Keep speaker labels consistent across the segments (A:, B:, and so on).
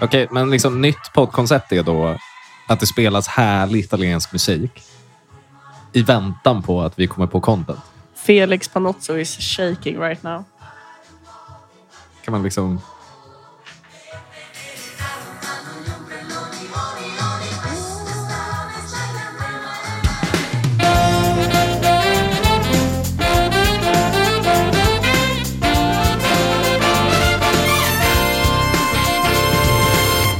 A: Okej, men liksom nytt poddkoncept är då att det spelas härlig italiensk musik i väntan på att vi kommer på content.
B: Felix Panozzo is shaking right now.
A: Kan man liksom...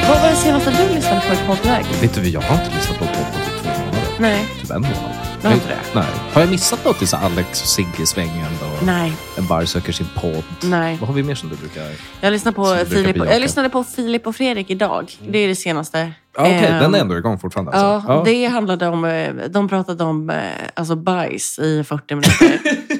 B: Vad var det senaste du lyssnade på i poddväg?
A: Vet du, jag har inte lyssnat på en podd på typ två månader.
B: Nej.
A: Typ en månad.
B: Jag har inte det.
A: Nej. Har jag missat något i så här Alex och Sigge-svängen? och
B: Nej.
A: En bar söker sin podd.
B: Nej.
A: Vad har vi mer som du brukar...
B: Jag lyssnade
A: Som du
B: på,
A: brukar
B: Filip,
A: bejaka.
B: jag lyssnade på Filip och Fredrik idag. Det är det senaste.
A: Ja, Okej,
B: Ehm,
A: den är ändå igång fortfarande.
B: Ja,
A: alltså.
B: det handlade om... eh, De pratade om eh, alltså bajs i 40 minuter.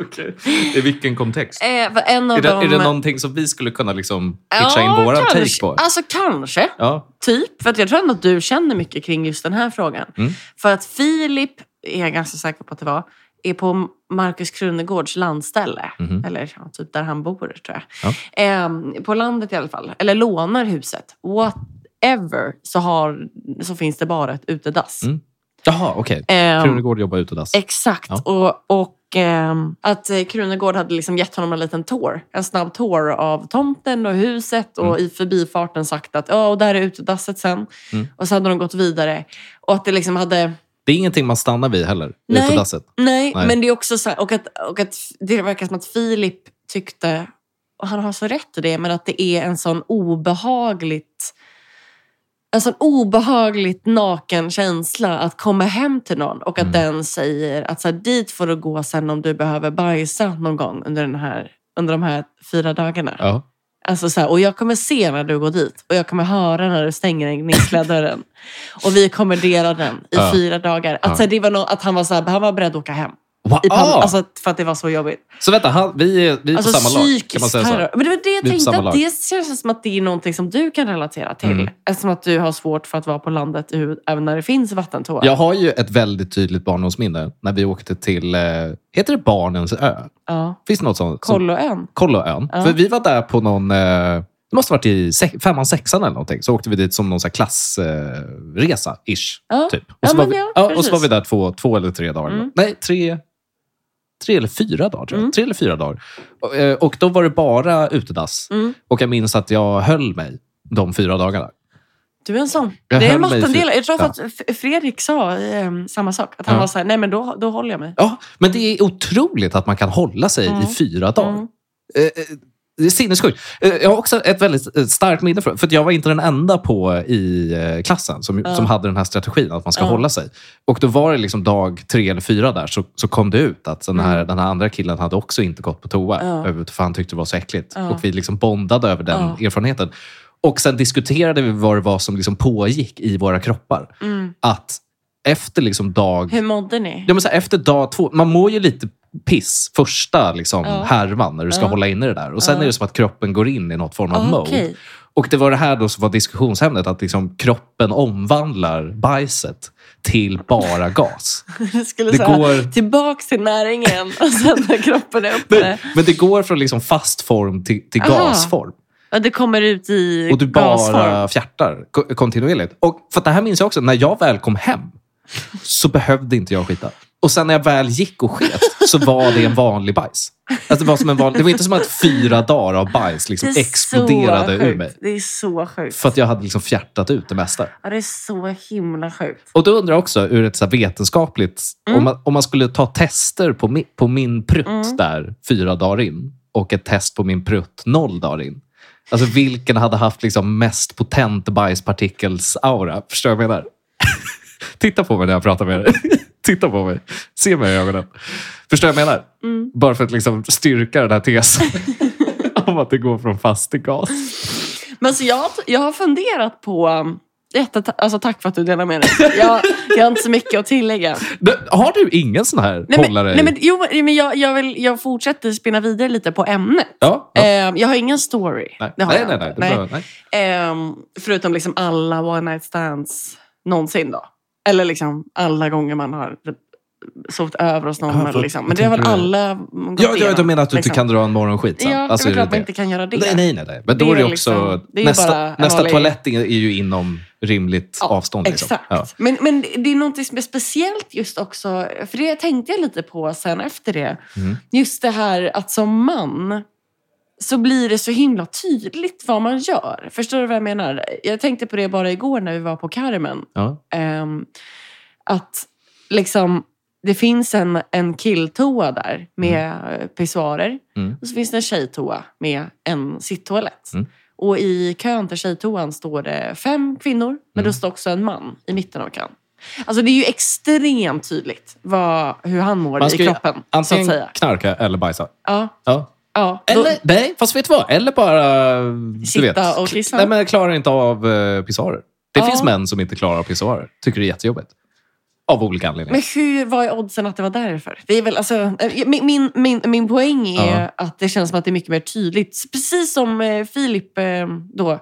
A: Okej. I vilken kontext?
B: eh, för en av
A: Är det,
B: dem...
A: är det någonting som vi skulle kunna liksom pitcha in
B: Ja,
A: våran take
B: kanske.
A: på?
B: Alltså kanske.
A: Ja.
B: Typ. För att jag tror ändå att du känner mycket kring just den här frågan.
A: Mm.
B: För att Filip, är jag ganska säker på att det var, är på Markus Krunegårds landställe.
A: Mhm.
B: Eller ja, typ där han bor, tror
A: Ja.
B: jag. Ehm, på landet i alla fall. Eller lånar huset. Whatever. Så, har, så finns det bara ett utedass.
A: Mm. Jaha, okej.
B: Ehm,
A: Krunegård jobbar utedass.
B: Exakt.
A: Alltså. Ja.
B: Och, och ehm, att eh, Krunegård hade liksom gett honom en liten tour. En snabb tour av tomten och huset och i förbifarten sagt att ja, och där är utedasset sen.
A: Mm.
B: Och så hade de gått vidare. Och att det liksom hade...
A: Det är ingenting man stannar vid heller.
B: Nej.
A: Utedasset.
B: Nej,
A: Nej.
B: men det är också så här, och att, och att det verkar som att Filip tyckte, och han har så rätt i det, men att det är en sån obehagligt en sån obehagligt naken känsla att komma hem till någon och att
A: Mm.
B: den säger att så här, dit får du gå sen om du behöver bajsa någon gång under, den här, under de här fyra dagarna.
A: Ja.
B: Alltså så här, och jag kommer se när du går dit och jag kommer höra när du stänger den gnissliga dörren. Och vi kommer dela den i
A: Ja.
B: fyra dagar. Att,
A: Ja.
B: så här, det var nå- att han var så här, han var beredd att åka hem.
A: Wow.
B: I pan-
A: Ah!
B: alltså, för att det var så jobbigt.
A: så vänta, han, vi är, vi är
B: Alltså
A: på samma lag.
B: psykisk
A: Kan man säga så?
B: terror. Men det var det jag
A: Vi är på samma
B: tänkte. Att
A: lag.
B: det känns som att det är någonting som du kan relatera till.
A: Mm.
B: Eftersom att du har svårt för att vara på landet i huvud- även när det finns vattentoa.
A: Jag har ju ett väldigt tydligt barndomsminne när vi åkte till, eh, heter det Barnens ö?
B: Ja.
A: Finns det något sånt? som-
B: Kolloön.
A: Kolloön.
B: Ja.
A: För vi var där på någon, eh, det måste ha varit i se- femman, sexan eller någonting. Så åkte vi dit som någon så här klassresa, eh, resa, ish.
B: Ja.
A: Typ. Och,
B: Ja,
A: så var
B: men
A: vi,
B: ja,
A: och så
B: precis.
A: var vi där två, två eller tre dagar.
B: Mm.
A: Nej, tre, tre eller fyra dagar tror jag.
B: Mm.
A: Tre eller fyra dagar. Och, eh, och då var det bara utedass.
B: Mm.
A: Och jag minns att jag höll mig de fyra dagarna.
B: Du är en sån.
A: Jag
B: det är
A: höll mig i typ-
B: mattendelar. Jag tror
A: Ja.
B: att F- Fredrik sa eh, samma sak. Att han
A: Ja.
B: var så här, nej men då, då håller jag mig.
A: Ja, men det är otroligt att man kan hålla sig
B: Mm.
A: i fyra dagar.
B: Mm.
A: Eh, eh, Det är sinnessjukt. Eh, Jag har också ett väldigt eh, starkt minne. För för att jag var inte den enda på i eh, klassen som,
B: Ja.
A: som hade den här strategin att man ska
B: Ja.
A: hålla sig. Och då var det liksom dag tre eller fyra där så, så kom det ut att den här,
B: Mm.
A: den här andra killen hade också inte gått på toa.
B: Ja.
A: överhuvudtaget, För han tyckte det var så äckligt.
B: Ja.
A: Och vi liksom bondade över den
B: Ja.
A: erfarenheten. Och sen diskuterade vi vad det var som liksom pågick i våra kroppar.
B: Mm.
A: Att efter liksom dag
B: Hur mådde ni?
A: Ja, men så här, efter dag två, man mår ju lite piss första liksom,
B: Ja.
A: härvan när du ska
B: Ja.
A: hålla inne det där. Och Sen
B: Ja.
A: är det som att kroppen går in i något form av
B: Ah,
A: mode.
B: okej.
A: Och Det var det här då som var diskussionsämnet, att liksom, kroppen omvandlar bajset till bara gas.
B: Det skulle
A: Det
B: så här,
A: går-
B: tillbaks till näringen och sen när kroppen är uppe.
A: Men, men det går från liksom fast form till, till
B: Aha.
A: gasform.
B: Ja, det kommer ut i
A: Och du
B: gasform.
A: bara fjärtar ko- kontinuerligt. Och för att det här minns jag också, när jag väl kom hem så behövde inte jag skita. Och sen när jag väl gick och sket så var det en vanlig bajs. Alltså det, var som en vanlig, det var inte som att fyra dagar av bajs liksom
B: Det är
A: exploderade
B: så
A: ur
B: sjukt.
A: mig.
B: Det är så sjukt.
A: För att jag hade liksom fjärtat ut det mesta.
B: Ja, det är så himla sjukt.
A: Och då undrar jag också, ur ett så här vetenskapligt...
B: Mm.
A: Om, man, om man skulle ta tester på, mi, på min prutt
B: Mm.
A: där fyra dagar in och ett test på min prutt noll dagar in. Alltså vilken hade haft liksom mest potent bajspartikels-aura? Förstår du vad jag menar? Titta på mig när jag pratar med dig. Titta på mig. Se mig i ögonen. Förstår du vad jag menar?
B: Mm.
A: Bara för att liksom styrka den här tesen om att det går från fast till gas.
B: Men så jag, jag har funderat på... um, Jätte, alltså, tack för att du delar med dig. Jag, jag har inte så mycket att tillägga.
A: Har du ingen sån här
B: Nej, men,
A: hållare? i-
B: nej, men, jo, men jag, jag, vill, jag fortsätter spinna vidare lite på ämnet.
A: ja, ja.
B: Ehm, jag har ingen story.
A: Nej,
B: Det har
A: nej,
B: jag
A: nej,
B: inte.
A: nej, det
B: Nej.
A: är bra. nej.
B: Ehm, förutom liksom alla one night stands någonsin då. Eller liksom alla gånger man har sovit över hos någon.
A: Ja,
B: eller
A: för-
B: liksom.
A: vad
B: Men det har väl
A: tänker du?
B: alla gått
A: Ja, ja, du
B: igenom,
A: menar att du inte
B: liksom.
A: kan dra en morgonskit sen?
B: Ja,
A: Alltså,
B: det är väl klart man
A: det-
B: inte kan göra det.
A: Nej, nej, nej. nej. Men
B: Det
A: då
B: är
A: är det
B: väl
A: också...
B: liksom- det är ju bara
A: nästa
B: en
A: nästa
B: vanlig-
A: toalett är ju inom rimligt
B: Ja,
A: avstånd. Liksom.
B: Exakt.
A: Ja.
B: Men, men det är något som är speciellt just också, för det tänkte jag lite på sen efter det.
A: Mm.
B: Just det här att som man så blir det så himla tydligt vad man gör. Förstår du vad jag menar? Jag tänkte på det bara igår när vi var på Carmen.
A: Ja.
B: Ehm, att liksom, det finns en, en killtoa där med mm. pissoarer.
A: Mm.
B: Och så finns det en tjejtoa med en sitttoalett.
A: Mm.
B: Och i kön till tjejtoan står det fem kvinnor, men
A: Mm.
B: då står också en man i mitten av kön. Alltså det är ju extremt tydligt vad, hur han mår
A: Man
B: i
A: ska ju
B: kroppen. Så att
A: Antingen
B: säga.
A: knarka eller bajsa.
B: Ja,
A: Ja.
B: ja. Då-
A: Eller, nej, fast vet du vad? Eller bara... Du
B: Sitta
A: vet,
B: och kissa.
A: Nej, men jag klarar inte av uh, pissoarer. Det
B: Ja.
A: finns män som inte klarar av pissoarer. Tycker det är jättejobbigt. Av olika anledningar.
B: Men hur, vad är oddsen att det var därför? Det är väl, alltså, eh, min, min, min, min poäng är
A: Ja.
B: att det känns som att det är mycket mer tydligt. Precis som eh, Filip, eh, då,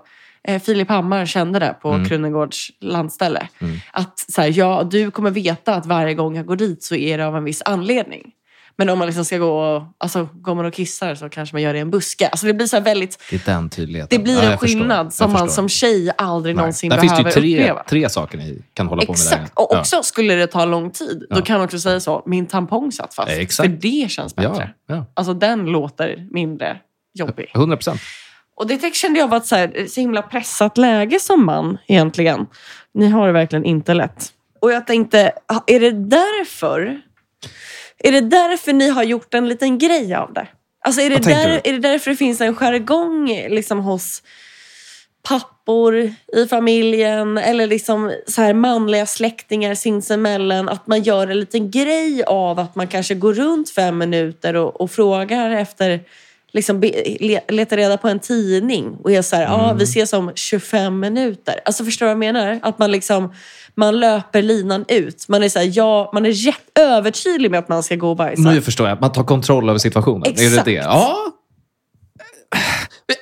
B: eh, Filip Hammar kände det på
A: Mm.
B: Krunegårds landställe.
A: Mm.
B: Att så här, ja, du kommer veta att varje gång jag går dit så är det av en viss anledning. Men om man liksom ska gå och, alltså, går man och kissar så kanske man gör det i en buske. Alltså, det blir så här väldigt,
A: Det är den tydligheten.
B: det blir
A: Ja,
B: en
A: jag förstår.
B: skillnad
A: Jag
B: som man
A: förstår.
B: som tjej aldrig
A: Nej.
B: någonsin
A: Där
B: behöver
A: finns det ju tre,
B: uppleva.
A: tre saker ni kan hålla på med.
B: Exakt.
A: där.
B: Och också skulle det ta lång tid, då
A: Ja.
B: kan man också säga så. Min tampong satt fast.
A: Ja, exakt.
B: För det känns
A: Ja.
B: bättre.
A: Ja,
B: Alltså den låter mindre jobbig.
A: ja. 100 procent.
B: Och det tyck- kände jag var ett så, här, eh, så himla pressat läge som man egentligen. Ni har det verkligen inte lätt. Och jag tänkte, ha- är det därför? Är det därför ni har gjort en liten grej av det? Alltså är det,
A: Vad tänker
B: där,
A: du?
B: är det därför det finns en jargong liksom hos pappor i familjen eller liksom så här manliga släktingar sinsemellan att man gör en liten grej av att man kanske går runt fem minuter och, och frågar efter liksom be, le, letar reda på en tidning och är så här, ja ah, vi ses om 25 minuter. Alltså förstår du vad jag menar? Att man liksom man löper linan ut. Man är så här, ja, man är jätte- övertydlig med att man ska gå och bajsa.
A: Nu förstår jag. Man tar kontroll över situationen. Är
B: Exakt.
A: det det? Ja.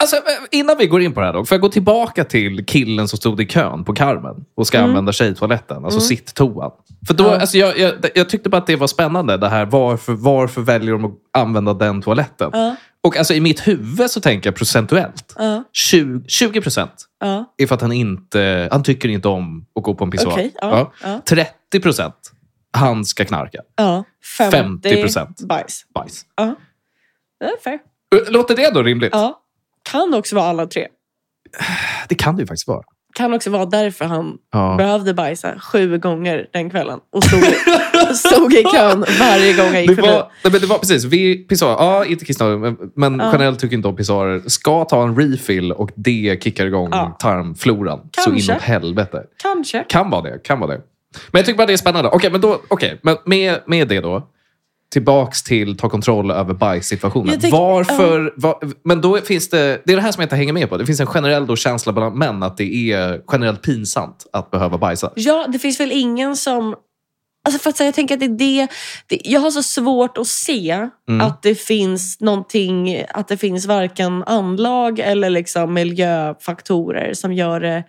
A: Alltså, innan vi går in på det här, då, får jag gå tillbaka till killen som stod i kön på Carmen och ska använda tjejtoaletten, alltså sitttoan. För då,
B: Mm. Ja.
A: alltså, jag, jag, jag tyckte bara att det var spännande, det här varför, varför väljer de att använda den toaletten?
B: Ja,
A: Och alltså, i mitt huvud så tänker jag procentuellt.
B: ja,
A: 20, 20 procent
B: ja.
A: är för att han, inte, han tycker inte om att gå på en pissoar.
B: Okej, ja, ja.
A: 30 procent, han ska knarka.
B: Ja, 50,
A: 50%.
B: bajs.
A: Bajs.
B: Ja. Det är fair.
A: Eh, Låter det då rimligt?
B: Ja. Kan också vara alla tre.
A: Det kan det ju faktiskt vara.
B: Kan också vara därför han
A: Ja.
B: behövde bajsa sju gånger den kvällen och stod, stod i kön varje gång jag
A: Det
B: gick
A: var,
B: förbi.
A: nej, men det var precis, vi pissoarer, ja inte kissnödig, men, men
B: Ja.
A: Chanel tycker inte om pissoarer. Ska ta en refill och det kickar igång
B: Ja.
A: tarmfloran
B: Kanske.
A: så inåt helvete.
B: Kanske.
A: Kan vara det, kan vara det. Men jag tycker bara det är spännande. Okej, men, då, okej, men med, med det då. Tillbaks till ta kontroll över bajssituationen.
B: Jag tänker-
A: Varför? va- men då finns det... Det är det här som jag inte hänger med på. Det finns en generell då känsla bland män att det är generellt pinsamt att behöva bajsa.
B: Ja, det finns väl ingen som... Alltså för att säga, jag tänker att det är det, det... Jag har så svårt att se
A: Mm.
B: att det finns någonting... Att det finns varken anlag eller liksom miljöfaktorer som gör det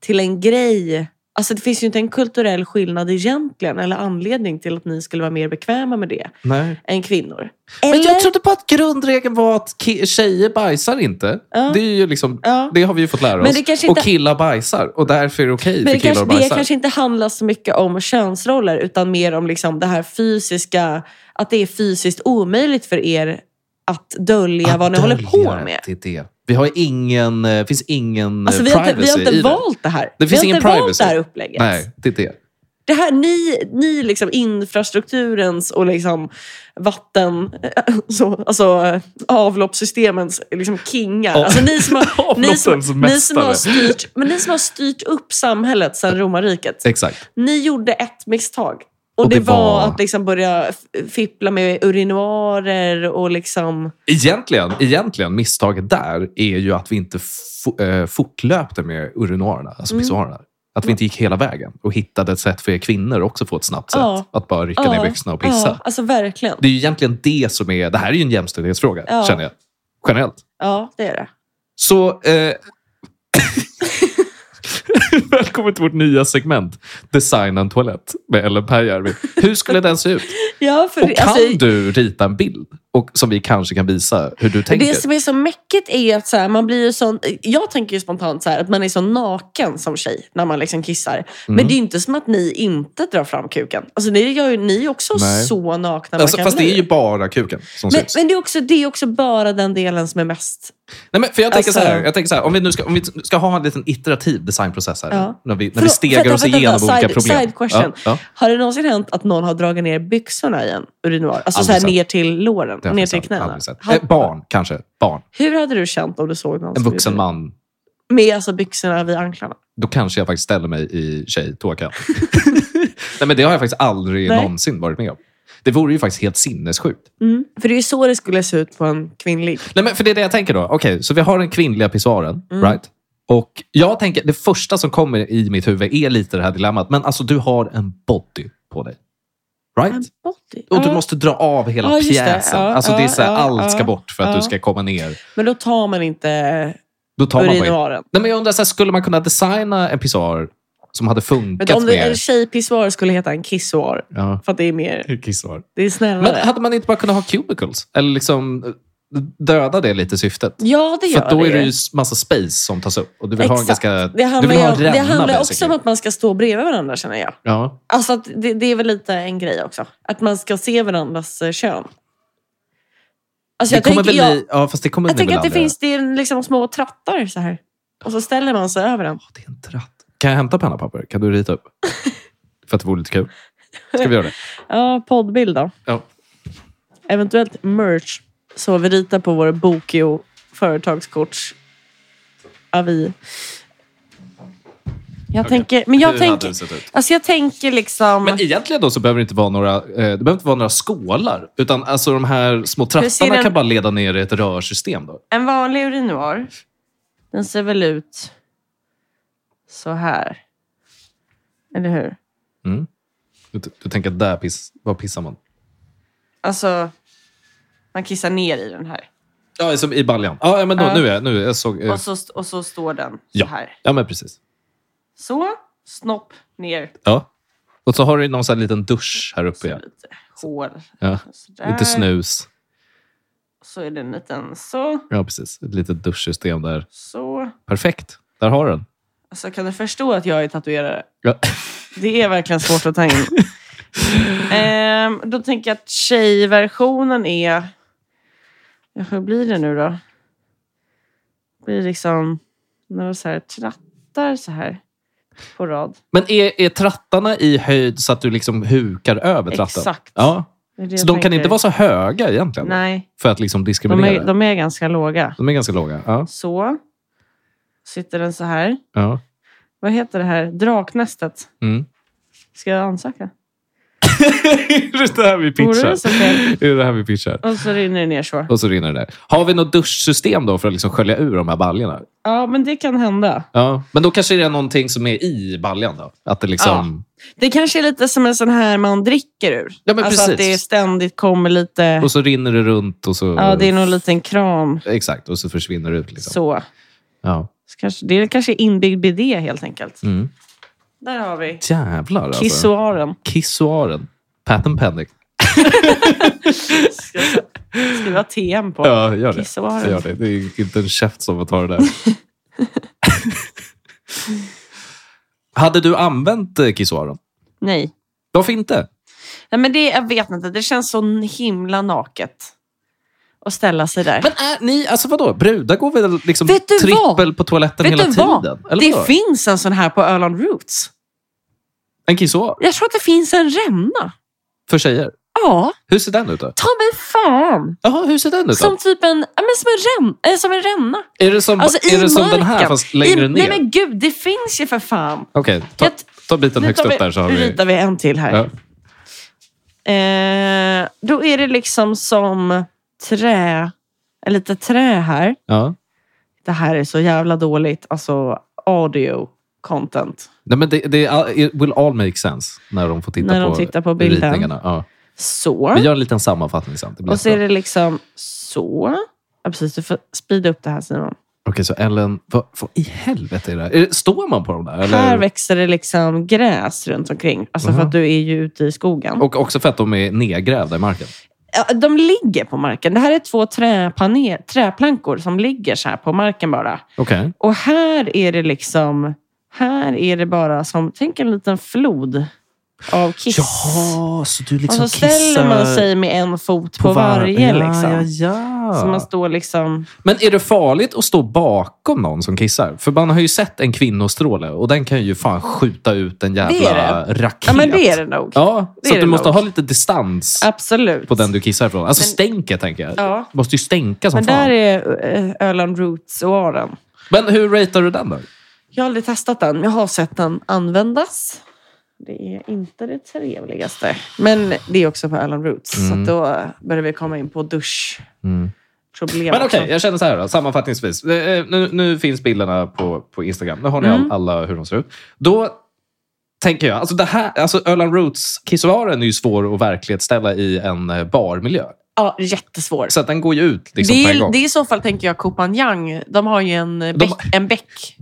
B: till en grej. Alltså det finns ju inte en kulturell skillnad egentligen eller anledning till att ni skulle vara mer bekväma med det
A: Nej.
B: än kvinnor.
A: Men
B: Eller?
A: jag trodde på att grundregeln var att ki- tjejer bajsar inte.
B: Ja.
A: Det, är ju liksom,
B: Ja.
A: det har vi ju fått lära
B: Men
A: oss.
B: det kanske inte-
A: Och killar bajsar. Och därför är det okej
B: Men
A: för
B: det
A: killar
B: kanske,
A: att
B: det
A: bajsa.
B: kanske inte handlar så mycket om könsroller utan mer om liksom det här fysiska, att det är fysiskt omöjligt för er att dölja
A: Att
B: vad ni håller
A: dölja
B: på med.
A: Det, är det. Vi har ingen, eh, finns ingen
B: Alltså,
A: eh,
B: vi, har inte, vi
A: privacy
B: har
A: i
B: inte
A: det.
B: valt det här. vi
A: finns
B: har
A: ingen
B: inte valt
A: privacy.
B: det här upplägget.
A: Nej, det är det.
B: Det här, ni, ni liksom infrastrukturens och liksom vatten, så, alltså eh, avloppssystemens liksom kingar.
A: Ja.
B: Alltså, ni, som har, ni,
A: Avloppens
B: som, ni, som
A: mästare.
B: har styrt, men ni som har styrt upp samhället sedan romarriket.
A: Exakt.
B: Ni gjorde ett misstag. Och,
A: Och
B: det,
A: det
B: var,
A: var-
B: att liksom börja f- fippla med urinoarer och liksom...
A: Egentligen, egentligen, misstaget där är ju att vi inte fo- eh, fortlöpte med urinoarerna, alltså
B: Mm.
A: pissoarerna. Att vi inte gick hela vägen och hittade ett sätt för er kvinnor också få ett snabbt sätt.
B: Ja.
A: Att bara rycka
B: Ja,
A: ner byxorna och pissa.
B: Ja, alltså verkligen.
A: Det är ju egentligen det som är... Det här är ju en jämställdhetsfråga,
B: Ja.
A: känner jag. Generellt. eh,
B: Ja, det är det.
A: Så... Eh, Välkommen till vårt nya segment. Designa en toalett med Ellen Pääjärvi. Hur skulle den se ut?
B: Ja, för
A: Och
B: det-
A: kan
B: alltså,
A: du rita en bild och, som vi kanske kan visa hur du tänker?
B: Det som är så mäckigt är att så här, man blir ju sån, jag tänker ju spontant så här, att man är så naken som tjej när man liksom kissar. Men
A: Mm.
B: det är ju inte som att ni inte drar fram kuken. Alltså, ni gör ju ni är också
A: Nej.
B: så nakna
A: alltså,
B: man kan
A: fast det
B: bli.
A: är ju bara kuken som
B: men,
A: syns.
B: men det är, också, det är också bara den delen som är mest...
A: Nej, men för jag, tänker
B: Alltså-
A: så här, jag tänker så här, om vi nu ska, om vi ska ha en liten iterativ designprocess här.
B: Ja.
A: När vi, när vi
B: Förlåt,
A: stegar
B: vänta,
A: oss
B: vänta,
A: igenom
B: vänta,
A: olika
B: side-
A: problem.
B: side question.
A: Ja,
B: Har det någonsin hänt att någon har dragit ner byxorna i en urinoar? Alltså så här,
A: Aldrig sett.
B: ner till låren,
A: ja,
B: ner till
A: aldrig sett,
B: knäna.
A: aldrig sett.
B: Har-
A: Eh, barn, kanske. Barn.
B: Hur hade du känt om du såg någon
A: En
B: som
A: vuxen
B: gjorde
A: man.
B: det? Med alltså byxorna vid anklarna.
A: Då kanske jag faktiskt ställer mig i tjejtoakön. Nej, men det har jag faktiskt aldrig
B: Nej.
A: någonsin varit med om. Det vore ju faktiskt helt sinnessjukt.
B: Mm. För det är ju så det skulle se ut på en kvinnlig.
A: Nej, men för det är det jag tänker då. Okej, så vi har den kvinnliga pissoaren,
B: Mm.
A: right? Och jag tänker, det första som kommer i mitt huvud är lite det här dilemmat. Men alltså, du har en body på dig. Right?
B: En body.
A: Och du
B: Mm. Ja.
A: måste dra av hela
B: Ja, just det.
A: pjäsen.
B: Ja,
A: alltså, det är
B: ja,
A: så här,
B: ja,
A: allt
B: ja,
A: ska bort för att
B: ja.
A: du ska komma ner.
B: Men då tar man inte
A: Då tar man bara in.
B: urinaren.
A: Nej, men jag undrar, så här, skulle man kunna designa en pissoar som hade funkat
B: Men om det, en
A: med...
B: tjejpissoar skulle heta en kissoar.
A: Ja,
B: För att det är mer,
A: kissoar.
B: det är snällare.
A: Men hade man inte bara kunnat ha cubicles? Eller liksom eh, döda det lite syftet?
B: ja, det gör
A: För att då
B: det
A: är det ju
B: ju.
A: massa space som tas upp. Och du vill ha en
B: Exakt.
A: ganska...
B: Det
A: du
B: handlar,
A: vill
B: ju
A: ha
B: om,
A: en
B: det
A: ränna
B: handlar också
A: basically.
B: om att man ska stå bredvid varandra känner jag.
A: Ja.
B: Alltså att det, det är väl lite en grej också. Att man ska se varandras eh, kön. Alltså
A: Det
B: jag
A: kommer
B: tänker,
A: väl
B: jag,
A: i, ja, fast det kommer
B: jag
A: ni väl
B: tänker att det
A: aldrig
B: finns det är liksom små trattar så här. Och så ställer man sig över den.
A: göra. Det är en tratt. Kan jag hämta penna och papper? Kan du rita upp? För att det vore lite kul. Ska vi göra det?
B: Ja, poddbild då.
A: Ja.
B: Eventuellt merch. Så vi ritar på vår Bokio företagskorts avi. Jag tänker, men jag
A: Hur hade
B: tänker,
A: det sett ut?
B: alltså jag tänker liksom...
A: Men egentligen då så behöver det inte vara några, eh, det behöver inte vara några skålar. Utan alltså de här små
B: ser
A: trattarna
B: den-
A: kan bara leda ner i ett rörsystem. Då.
B: En vanlig urinoir, den ser väl ut så här. Eller hur?
A: Mm. Du, du tänker att där piss, var pissar man?
B: Alltså, man kissar ner i den här.
A: Ja, som i baljan. Ja, ja, men då,
B: Ja.
A: nu är jag, nu är jag såg... eh,
B: Och så, st- och så står den
A: Ja.
B: så här.
A: Ja, men precis.
B: Så, snopp ner.
A: Ja. Och så har du någon sån här liten dusch här uppe.
B: Så
A: Ja.
B: lite hår.
A: Ja.
B: Sådär.
A: Lite snus.
B: Så är det en liten så.
A: Ja, precis. Ett litet duschsystem där.
B: Så.
A: Perfekt. Där har den.
B: Alltså, kan du förstå att jag är tatuerare?
A: Ja.
B: Det är verkligen svårt att ta in. Ehm, då tänker jag att tjejversionen är... Ja, hur blir det nu då? Det blir liksom några så här trattar så här på rad.
A: Men är, är trattarna i höjd så att du liksom hukar över tratten?
B: Exakt.
A: Ja.
B: Det är det
A: Så
B: jag
A: de kan
B: tänker.
A: inte vara så höga egentligen?
B: Nej,
A: För att liksom
B: de
A: diskriminera?
B: är, de är ganska låga.
A: De är ganska låga. Ja.
B: Så. Sitter den så här.
A: Ja.
B: Vad heter det här? Draknästet.
A: Mm.
B: Ska jag ansöka?
A: är det det här vi
B: Vore
A: pitchar?
B: det så fel?
A: Är det det här vi pitchar?
B: Och så rinner det ner så.
A: Och så rinner det där. Har vi något duschsystem då för att liksom skölja ur de här baljorna?
B: Ja, men det kan hända.
A: Ja. Men då kanske det är någonting som är i baljan då? Att det liksom...
B: Det kanske är lite som en sån här man dricker ur.
A: Ja, men
B: alltså att
A: precis.
B: det ständigt kommer lite...
A: Och så rinner det runt och så...
B: Ja, det är någon liten kram.
A: Exakt, och så försvinner det ut. Liksom.
B: Så.
A: Ja.
B: Så kanske, det är kanske inbyggd bidé helt enkelt.
A: Mm.
B: Där har vi
A: Jävlar alltså.
B: kissoaren.
A: Kissoaren. Patent pending.
B: Ska jag Skriva TM på.
A: Ja, gör det. Jag gör
B: Kissoaren.
A: det. det är inte en käft som tar det där. Hade du använt eh, kissoaren?
B: Nej.
A: Varför inte?
B: Nej, men det, jag vet inte. Det känns så himla naket att ställa sig där.
A: Men är ni, alltså vadå? Brudar går väl liksom
B: Vet du vad?
A: trippel på toaletten
B: Vet
A: hela
B: du
A: tiden?
B: vad?
A: Eller vadå?
B: det finns en sån här på Öland Roots.
A: en kissoar
B: Jag tror att det finns en ränna.
A: för tjejer?
B: Ja,
A: Hur ser den ut då?
B: ta mig fan.
A: Jaha, hur ser den ut då?
B: Som typ en, ja, men som en, rän, äh, som en ränna.
A: är det som,
B: Alltså, i
A: är det som den här
B: marken.
A: fast längre
B: I,
A: ner?
B: Nej men gud, det finns ju för fan.
A: Okej, ta,
B: Jag-
A: ta biten
B: Nu
A: högst
B: tar vi-
A: upp där så har
B: nu
A: vi...
B: ritar vi en till här.
A: Ja.
B: Eh, då är det liksom som trä, eh, lite trä här.
A: Ja.
B: Det här är så jävla dåligt, alltså audio content.
A: Nej, men det, det är- it will all make sense när de får titta
B: När
A: på
B: de tittar på bilden.
A: ritningarna. Ja.
B: Så.
A: Vi gör en liten sammanfattning sen. Det blir
B: Och så är
A: jättebra.
B: det liksom så. Ja, precis, du får speeda upp det här Simon.
A: Okej, så Ellen, vad, vad i helvete är det här? Är det- Står man på dem där?
B: Här
A: Eller? Mhm.
B: växer det liksom gräs runt omkring. Alltså för
A: Jaha.
B: att du är ju ute i skogen.
A: Och också för att de är nedgrävda i marken.
B: Ja, De ligger på marken. Det här är två träpanel, träplankor som ligger så här på marken bara.
A: Okej.
B: Och här är det liksom... Här är det bara som... Tänk en liten flod av kiss.
A: Ja, så du liksom
B: och så ställer man
A: kissar
B: sig med en fot på, varje.
A: var-
B: liksom.
A: Ja, ja,
B: Så man
A: ja.
B: står liksom...
A: Men är det farligt att stå bakom någon som kissar? För man har ju sett en kvinnostråle och den kan ju fan skjuta ut en jävla
B: Det är
A: raket.
B: Ja, men det är det nog.
A: Ja,
B: Det
A: så
B: är
A: att du
B: det
A: måste
B: nog.
A: ha lite distans
B: Absolut.
A: på den du kissar ifrån. Alltså
B: Men-
A: stänket, tänker jag.
B: Ja.
A: Du måste ju stänka som
B: Men
A: fan.
B: där är eh, Öland Roots-oaren.
A: Men hur ratear du den då?
B: Jag har aldrig testat den, men jag har sett den användas. Det är inte det trevligaste. Men det är också på Alan Roots, så
A: Mm.
B: att då börjar vi komma in på duschproblem.
A: Mm. Men okej,
B: också.
A: jag känner så här då, sammanfattningsvis. Eh, eh, Nu, nu finns bilderna på, på Instagram. Nu har ni all-
B: Mm.
A: alla hur de ser ut. Då tänker jag, alltså, det här, alltså Öland Roots kissoaren är ju svår att verklighetsställa i en eh, barmiljö.
B: Ja, jättesvår.
A: Så att den går ju ut liksom,
B: det,
A: på en gång.
B: är, det är i så fall, tänker jag, Kopanjang. De har ju en eh,
A: De-
B: bäck. En bäck.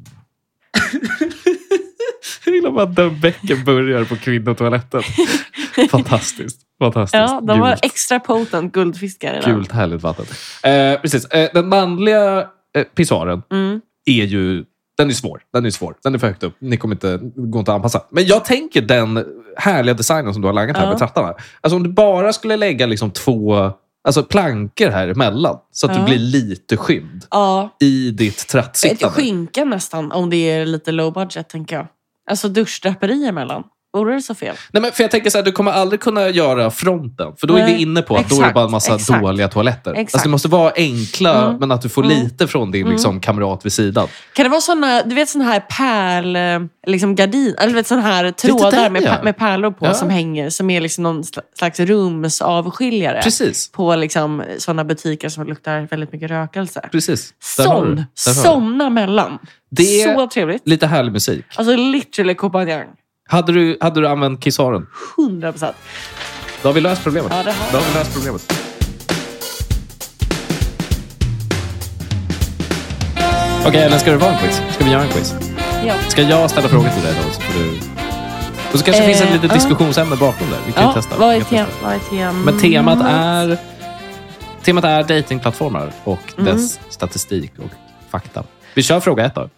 A: Jag gillar bara att den bäcken börjar på kvinnotoaletten. Fantastiskt. Fantastiskt.
B: Ja, de har
A: Gult.
B: extra potent guldfiskar i den.
A: Gult, härligt vatten. Eh, precis. Eh, den manliga eh, pissoaren
B: Mm.
A: är ju... Den är svår. Den är svår. Den är för högt upp. Ni kommer inte, går inte att anpassa. Men jag tänker den härliga designen som du har lagat här
B: Ja.
A: med trattarna. Alltså om du bara skulle lägga liksom två alltså plankor här emellan så att
B: Ja.
A: du blir lite skymd
B: Ja,
A: i ditt
B: ett
A: trattsittande.
B: skinka nästan, om det är lite low budget, tänker jag. Alltså duschdraperi emellan. Vore det så fel?
A: Nej, men för jag tänker så här, du kommer aldrig kunna göra fronten. För då är
B: Nej,
A: vi inne på att då är det
B: exakt,
A: bara en massa
B: exakt.
A: dåliga toaletter.
B: Exakt.
A: Alltså, det måste vara enkla,
B: Mm.
A: men att du får
B: Mm.
A: lite från din liksom, kamrat vid sidan.
B: Kan det vara såna, du vet såna här pärl, eh, liksom gardin, eller du vet såna här trådar
A: den,
B: med,
A: ja.
B: pär- med pärlor på
A: Ja.
B: som hänger, som är liksom någon sl- slags rumsavskiljare
A: Precis.
B: på liksom såna butiker som luktar väldigt mycket rökelse.
A: Precis. Där har du
B: Sån!
A: det. Där har du det.
B: Somna mellan.
A: Det är
B: Så trevligt.
A: lite härlig musik.
B: Alltså literally kompanjang.
A: Hade du, hade du använt kissaren?
B: 100 procent.
A: Då har vi löst problemet.
B: Ja, det har
A: Då har vi löst problemet. Okej, Ellen, ska det vara en quiz? Ska vi göra en quiz?
B: Ja.
A: Ska jag ställa frågor till dig då? Så får du... Och så kanske
B: Eh,
A: finns ett litet
B: ja.
A: diskussionsämne bakom det. Vi kan ju
B: Ja,
A: testa.
B: vad
A: Vi
B: är
A: kan testa.
B: tem- vad är temat?
A: Men
B: Mm.
A: temat är, temat är datingplattformar och
B: Mm.
A: dess statistik och fakta. Vi kör fråga ett då.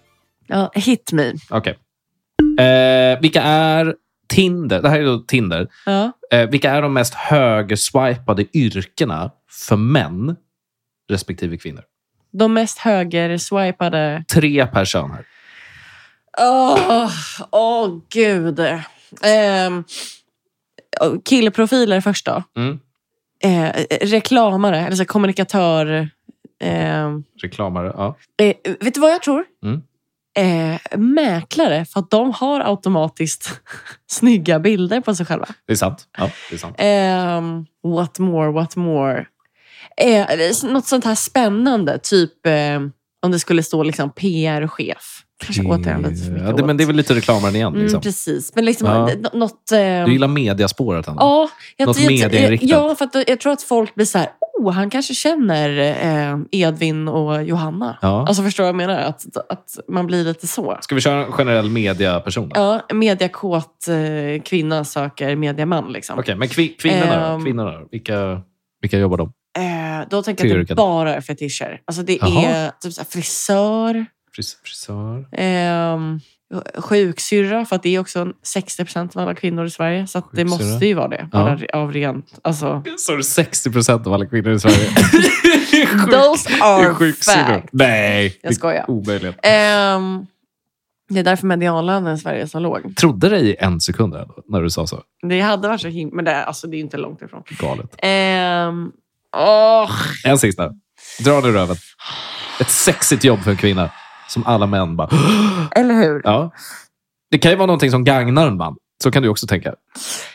B: Ja, hit me.
A: Okej. Eh, vilka är Tinder? Det här är då Tinder.
B: Ja.
A: Eh, vilka är de mest högerswipade yrkena för män respektive kvinnor?
B: De mest höger-swipade
A: Tre per kön här.
B: Åh, åh gud. Ehm, killprofiler först då.
A: Mm.
B: Eh, reklamare, eller så kommunikatör. Ehm,
A: Reklamare. Ja.
B: eh, vet du vad jag tror?
A: Mm.
B: Eh, mäklare, för att de har automatiskt snygga bilder på sig själva.
A: Det är sant. Ja, det är sant.
B: Ehm, what more, what more? Eh, något sånt här spännande, typ eh, om det skulle stå liksom PR-chef. Kanske återigen lite för mycket
A: ja, det, men
B: åt.
A: det är väl lite reklamaren igen.
B: Mm,
A: Liksom.
B: precis, men liksom
A: Ja.
B: n- n- något... ehm,
A: Du gillar mediaspåret ändå.
B: Ja, jag,
A: Något
B: jag-
A: medieinriktat.
B: Ja, för att då- jag tror att folk blir så här, oh, han kanske känner eh, Edvin och Johanna.
A: Ja.
B: Alltså förstår du vad jag menar? Att, att man blir lite så.
A: Ska vi köra en generell mediaperson? då?
B: Ja, mediakåt eh, kvinna söker mediaman. Liksom.
A: Okej, men kvi- kvinnorna, då?
B: Ehm.
A: kvinnorna då? vilka, vilka jobbar de?
B: Eh, då tänker jag att det
A: Tillyrken.
B: bara är fetischer. Alltså det är
A: Jaha.
B: typ så här, frisör,
A: Fris- Frisör?
B: ehm, sjuksyrra, för att det är också 60 av alla kvinnor i Sverige. Så att det
A: Sjuksyrra.
B: måste ju vara det.
A: Ja.
B: Bara av rent... Alltså,
A: Så är det 60 procent av alla kvinnor i Sverige. Sjuk-
B: those
A: det är
B: are
A: sjuksyrror.
B: facts.
A: Nej,
B: Jag skojar.
A: det är omöjligt.
B: Ehm, det är därför medianlönen i Sverige är så låg.
A: Trodde dig i en sekund där, när du sa så.
B: Det hade varit så himla... Men det, är- alltså, det är inte långt ifrån.
A: Galet.
B: Ehm, åh,
A: En sista. Dra nu röven. Ett sexigt jobb för en kvinna som alla män bara...
B: eller hur?
A: Ja. Det kan ju vara någonting som gagnar en man. Så kan du också tänka.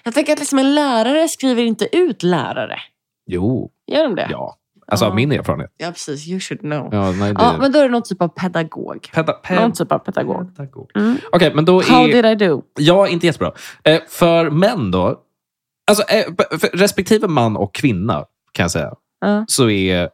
B: Jag tänker att liksom en lärare skriver inte ut lärare.
A: Jo,
B: Gör de det?
A: ja. Alltså av
B: Ja.
A: min erfarenhet.
B: Ja, precis. You should know. Ja,
A: Ja, nej, det...
B: men då är det någon typ av pedagog.
A: Peda-
B: Någon
A: ped-
B: typ av pedagog.
A: pedagog.
B: Mm.
A: Okej, men då är...
B: How did I do?
A: Ja, inte jättebra. Eh, för män då, alltså, eh, b- för respektive man och kvinna kan jag säga,
B: Ja.
A: så är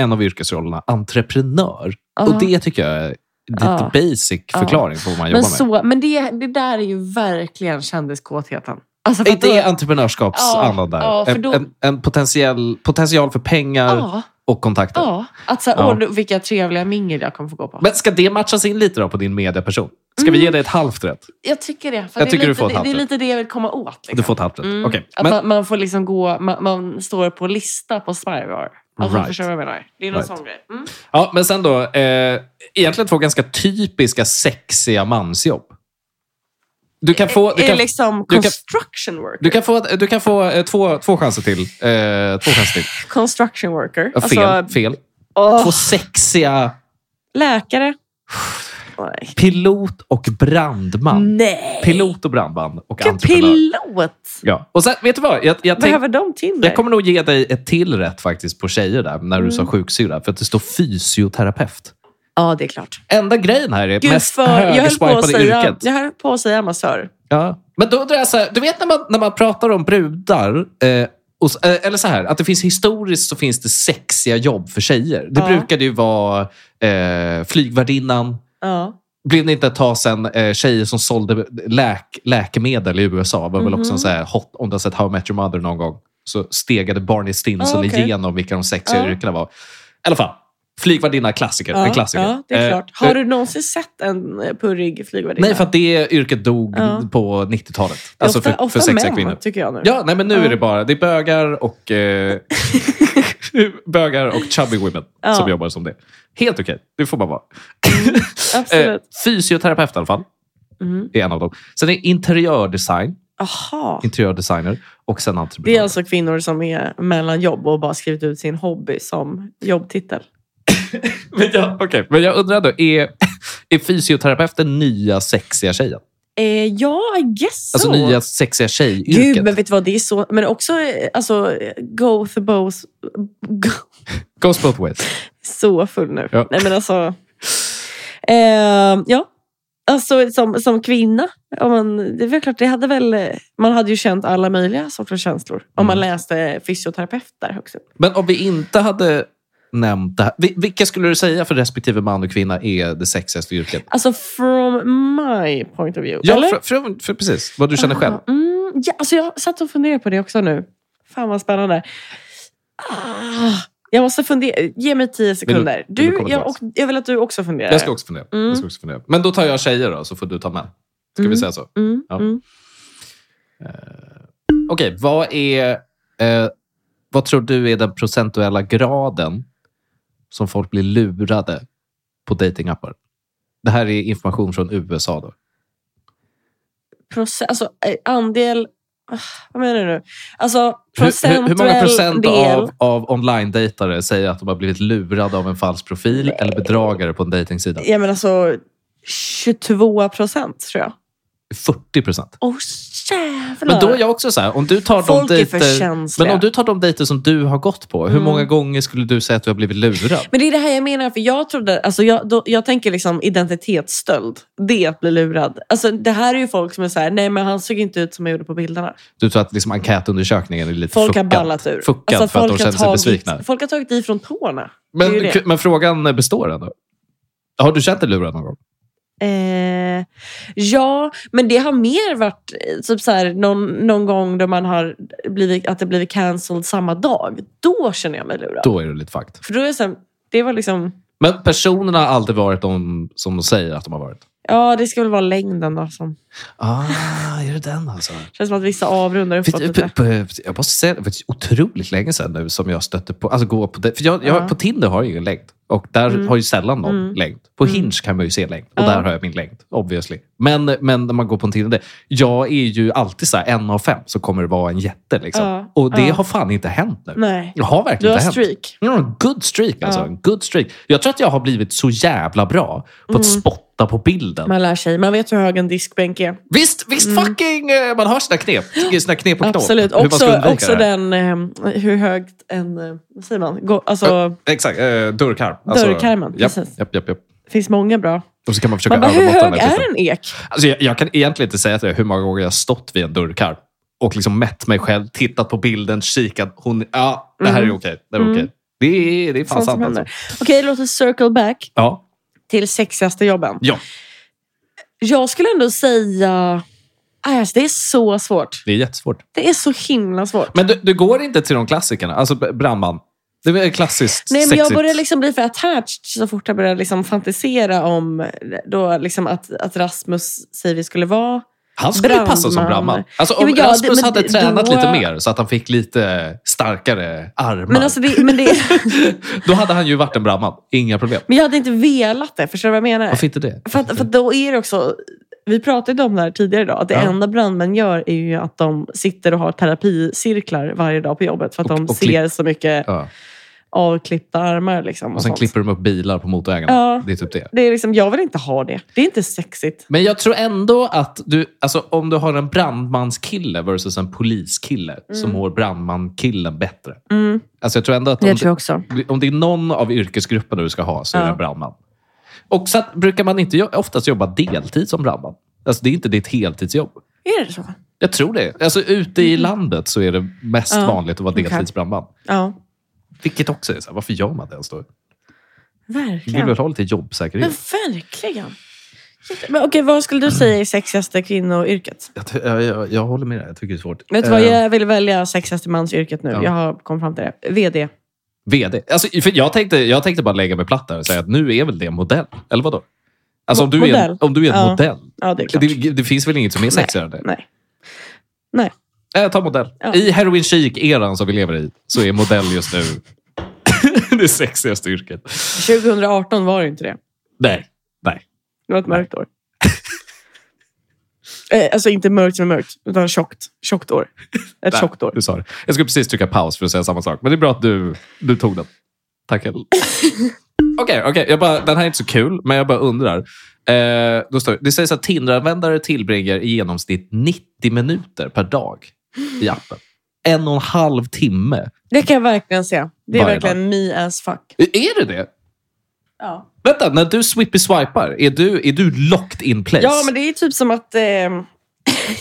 A: en av yrkesrollerna entreprenör
B: Ja.
A: Och det tycker jag är lite
B: Ja.
A: basic
B: Ja.
A: förklaring på vad man jobbar
B: men
A: med.
B: så, men det, det där är ju verkligen kändiskåtheten. Alltså för
A: Är
B: att då-
A: det entreprenörskapsandan
B: Ja,
A: där?
B: ja, för
A: En-
B: då-
A: En, en potentiell, potential för pengar
B: Ja,
A: och kontakter.
B: ja. Att så här,
A: Typ. Ja.
B: åh, nu- vilka trevliga mingel jag kommer få gå på.
A: Men ska det matchas in lite då på din mediaperson? Ska vi
B: Mm.
A: ge dig ett halvt rätt?
B: jag tycker det. För
A: Jag
B: det,
A: tycker
B: är
A: du
B: lite,
A: får ett
B: det, det är
A: halvt.
B: lite det jag vill komma åt. Liksom.
A: Du får ett halvt rätt.
B: Mm.
A: Okej.
B: Att
A: Men,
B: man, man får liksom gå, man, man står på lista på Spybar. Alltså,
A: Right.
B: Förstår du vad jag menar? Det är någon
A: Right.
B: sån grej. Mm.
A: ja, men sen då. Eh, egentligen två ganska typiska sexiga mansjobb. Du kan få, du
B: är
A: kan,
B: det liksom
A: du kan-
B: construction worker?
A: du kan få, du kan få eh, två, två chanser till. Eh, två chanser till.
B: Construction worker.
A: Ja, Fel.
B: Alltså,
A: fel.
B: åh,
A: Två sexiga
B: läkare. Nej.
A: pilot och brandman.
B: Nej.
A: Pilot och brandman och
B: Vilken
A: entreprenör.
B: pilot!
A: Ja. Och sen, vet du vad? Jag, jag, tänk,
B: Behöver de Tinder?
A: jag kommer nog ge dig ett till rätt faktiskt på tjejer där, när du sa
B: Mm.
A: sjuksyrra. För att det står fysioterapeut.
B: Ja, det är klart.
A: Enda grejen här är
B: Gud,
A: mest
B: för, jag, höll på att
A: högerswipade
B: säga,
A: yrket.
B: jag höll på att säga amatör.
A: Ja. Men då undrar jag så här, du vet när man, när man pratar om brudar, eh, och, s- eh, eller så här, att det finns historiskt så finns det sexiga jobb för tjejer. Det
B: Ja.
A: brukade ju vara eh, flygvärdinnan,
B: Ja.
A: blev det inte ett tag sedan eh, tjejer som sålde läk, läkemedel i USA. var väl
B: Mhm.
A: också en så här hot, om du har sett How I Met Your Mother någon gång, så stegade Barney Stinson
B: Ah, okej.
A: igenom vilka de sexiga
B: Ja.
A: yrkena var. I alla fall, flygvärdinna, klassiker.
B: Ja,
A: en klassiker.
B: ja, det är
A: Eh,
B: klart. Har du någonsin sett en eh, purrig flygvärdinna?
A: Nej, för att det yrket dog
B: Ja.
A: på 90-talet.
B: Det är
A: Alltså
B: ofta,
A: för,
B: ofta
A: för sexiga
B: män,
A: kvinnor.
B: tycker jag nu.
A: Ja, nej men nu
B: Ja.
A: är det bara det är bögar och, eh, bögar och chubby women
B: Ja. Mm,
A: som jobbar som det. Helt okej, det får man vara. Eh,
B: Absolut.
A: fysioterapeut i alla fall,
B: Mm.
A: är en av dem. Sen är interiördesign,
B: Aha.
A: interiördesigner och sen entreprenör.
B: Det är alltså kvinnor som är mellan jobb och bara skrivit ut sin hobby som jobbtitel.
A: men, jag, okej, men jag undrar då, är, är fysioterapeuten nya sexiga tjejen?
B: Eh, ja, I guess
A: Alltså
B: so.
A: nya sexiga tjejyrket?
B: Gud, men vet du vad? Det är så... Men också, eh, alltså, eh, go the both... Go,
A: Goes both ways.
B: så full nu.
A: Ja.
B: Nej, men alltså... Eh, ja. Alltså, som, som kvinna, om man, det är väl klart, det hade väl, eh, man hade ju känt alla möjliga sorters känslor om man
A: Mm.
B: läste fysioterapeut där högst upp.
A: Men om vi inte hade nämnt det här. vi- Vilka skulle du säga för respektive man och kvinna är det sexigaste yrket?
B: Alltså, from my point of view.
A: Ja,
B: eller?
A: för, för, för precis. Vad du känner själv.
B: Aha, Mm, ja, alltså jag satt och funderade på det också nu. Fan vad spännande. Ah, jag måste fundera. Ge mig tio sekunder.
A: vill du
B: Du,
A: komma
B: jag, och,
A: tillbaks?
B: jag vill att du också funderar.
A: Jag ska också fundera.
B: Mm.
A: Jag ska också fundera. Men då tar jag tjejer då, så får du ta män. Ska
B: Mm.
A: vi säga så?
B: Mm,
A: Ja.
B: mm.
A: Okej, vad är... Eh, vad tror du är den procentuella graden som folk blir lurade på datingappar? Det här är information från USA. då.
B: Proce- alltså, eh, andel... ah, Vad menar du nu? Alltså,
A: Hur,
B: procentuell
A: hur, hur många procent
B: del.
A: av, av online-dejtare säger att de har blivit lurade av en falsk profil eller bedragare på en dejtingsida?
B: Ja, men alltså 22 procent tror jag.
A: 40 procent.
B: Åh jävlar!
A: Men då är jag också så här, om du tar
B: Folk
A: de
B: är för
A: dejter...
B: känsliga.
A: Men om du tar de dejter som du har gått på, hur
B: Mm.
A: många gånger skulle du säga att du har blivit lurad?
B: Men det är det här jag menar, för jag trodde, alltså jag, då, jag tänker liksom identitetsstöld. Det är att bli lurad. Alltså det här är ju folk som är så här, nej men han såg inte ut som jag gjorde på bilderna.
A: Du tror att liksom enkätundersökningen är lite
B: Folk
A: fuckad,
B: har ballat ur.
A: fuckad
B: alltså,
A: för att de
B: har
A: känner sig
B: tagit-
A: besvikna.
B: Folk har tagit i från tårna.
A: Men,
B: det är ju det.
A: men frågan består ändå. Har du känt dig lurad någon gång?
B: Eh, ja, men det har mer varit eh, typ så här, någon, någon gång då man har blivit, att det blivit cancelled samma dag. Då känner jag mig lurad.
A: Då är du lite fucked.
B: För då är jag så här, det var liksom,
A: Men personerna har aldrig varit de som de säger att de har varit.
B: ja det ska väl vara längden då som,
A: Ah, är det den alltså?
B: känns som att vissa avrundar uppåt
A: Vet du,
B: lite.
A: p- p- Jag måste säga det, det är otroligt länge sedan nu som jag stötte på... Alltså gå på det. För jag, jag,
B: Ja.
A: På Tinder har jag ingen längd. Och där
B: Ah. Mm.
A: har ju sällan någon
B: Mm.
A: längd. På
B: Mm.
A: Hinge kan man ju se längd. Och
B: Ja.
A: där har jag min längd, obviously. Men, men när man går på en Tinder... Jag är ju alltid så här, en av fem så kommer det vara en jätte. Liksom.
B: Ja.
A: Och det
B: Ja.
A: har fan inte hänt nu.
B: Nej,
A: Det har
B: du
A: verkligen
B: har
A: inte hänt.
B: streak.
A: Mm, en good streak alltså.
B: Ja.
A: En good streak. Jag tror att jag har blivit så jävla bra på att
B: Mm.
A: spotta på bilden.
B: Man lär sig. Man vet hur hög en diskbänk är.
A: Visst, visst fucking... eh, Man har sina knep. Sina knep och knåp.
B: Mm. Absolut.
A: Hur man ska
B: Också,
A: undvika
B: också
A: det här.
B: den, eh, hur högt en, eh, vad säger man? Gå, alltså,
A: Exakt, eh, dörrkarm.
B: Dörrkarmen,
A: japp,
B: precis.
A: Japp, japp, japp.
B: det finns många bra.
A: Och så kan man försöka
B: Man bara, hur
A: övermåtta
B: hög
A: den här
B: är
A: biten.
B: en ek?
A: Alltså, jag, jag kan egentligen inte säga till dig hur många gånger jag har stått vid en dörrkarm och liksom mätt mig själv, tittat på bilden, kikat. Hon, ja, det här är
B: Mm.
A: okej. Det här är okej. Det är, det är fan
B: Sånt som
A: sant.
B: händer.
A: Alltså.
B: Okej, låt oss circle back
A: Ja.
B: till sexigaste jobben.
A: Ja.
B: Jag skulle ändå säga... Aj, Alltså, det är så svårt.
A: Det är jättesvårt.
B: Det är så himla svårt.
A: Men du, du går inte till de klassikerna? Alltså b- brandman. Det är väl klassiskt
B: Nej, men
A: sexigt.
B: jag började liksom bli för attached så fort jag började liksom fantisera om då liksom att, att Rasmus säger vi skulle vara.
A: Han skulle ju passa som
B: brandman.
A: brandman. Alltså,
B: Ja,
A: om
B: men ja,
A: Rasmus
B: det- men
A: hade
B: det-
A: tränat
B: då-
A: lite mer så att han fick lite starkare armar.
B: Men, alltså det, men, det,
A: Då hade han ju varit en brandman. Inga problem.
B: men jag hade inte velat det. Förstår du vad jag menar?
A: Varför inte det?
B: För, att, för att då är det också... Vi pratade om det här tidigare idag. Att det
A: Ja.
B: enda brandmän gör är ju att de sitter och har terapicirklar varje dag på jobbet. För att
A: Och-
B: de
A: och
B: ser
A: klipp.
B: så mycket
A: Ja.
B: avklippta armar. Liksom, och
A: Och sen
B: sånt.
A: klipper de upp bilar på motorvägarna.
B: Ja.
A: Det är typ det.
B: det är liksom, jag vill inte ha det. Det är inte sexigt.
A: Men jag tror ändå att du, alltså om du har en brandmanskille versus en poliskille så
B: Mm.
A: mår brandmankillen bättre.
B: Mm,
A: Alltså jag tror ändå att om,
B: det tror jag också.
A: det- om det är någon av yrkesgrupperna du ska ha så är det
B: Ja.
A: en brandman. Och så att, brukar man inte jo- oftast jobba deltid som brandman. Alltså det är inte ditt heltidsjobb.
B: Är det så?
A: Jag tror det. Alltså ute i landet så är det mest
B: Mm. Ja,
A: vanligt att vara
B: okej.
A: deltidsbrandman.
B: Ja,
A: Vilket också är så här, varför gör man det ens då? Vi vill
B: verkligen.
A: väl ha lite
B: Men
A: jobbsäkerhet?
B: verkligen. Men okej, vad skulle du säga är sexigaste kvinnoyrket?
A: Jag, ty- jag, jag, jag håller med dig, jag tycker det är svårt.
B: Vet du vad,
A: Eh,
B: jag vill välja sexigaste mansyrket nu.
A: Ja.
B: Jag har kommit fram till det. VD.
A: VD. Alltså, för jag, tänkte, jag tänkte bara lägga mig platt där och säga att nu är väl det modell? Eller vadå? Alltså, om, du är
B: Modell.
A: en, om du är en
B: Ja,
A: modell.
B: Ja, det är klart.
A: Det, det finns väl inget som är sexigare än det?
B: Nej.
A: Nej, Jag tar Eh, modell.
B: Ja.
A: I heroin chic-eran som vi lever i så är modell just nu det sexigaste yrket.
B: 2018 var det inte det.
A: Nej.
B: Det var ett mörkt år. Eh, alltså inte mörkt som är mörkt, utan tjockt. Tjockt år. Ett
A: Nej,
B: tjockt år.
A: Du sa det. Jag skulle precis trycka paus för att säga samma sak. Men det är bra att du, du tog den. Tack Ellen. Okej, okej. Jag bara- den här är inte så kul, men jag bara undrar. Eh, då står det, det sägs att Tinder-användare tillbringar i genomsnitt 90 minuter per dag i appen. En och en halv timme.
B: Det kan jag verkligen se. Det är
A: Varje
B: verkligen me as fuck.
A: Eh, Är det det?
B: Ja.
A: Vänta, när du swippy-swipar, är du, är du locked in place?
B: ja, men det är typ som att... Eh,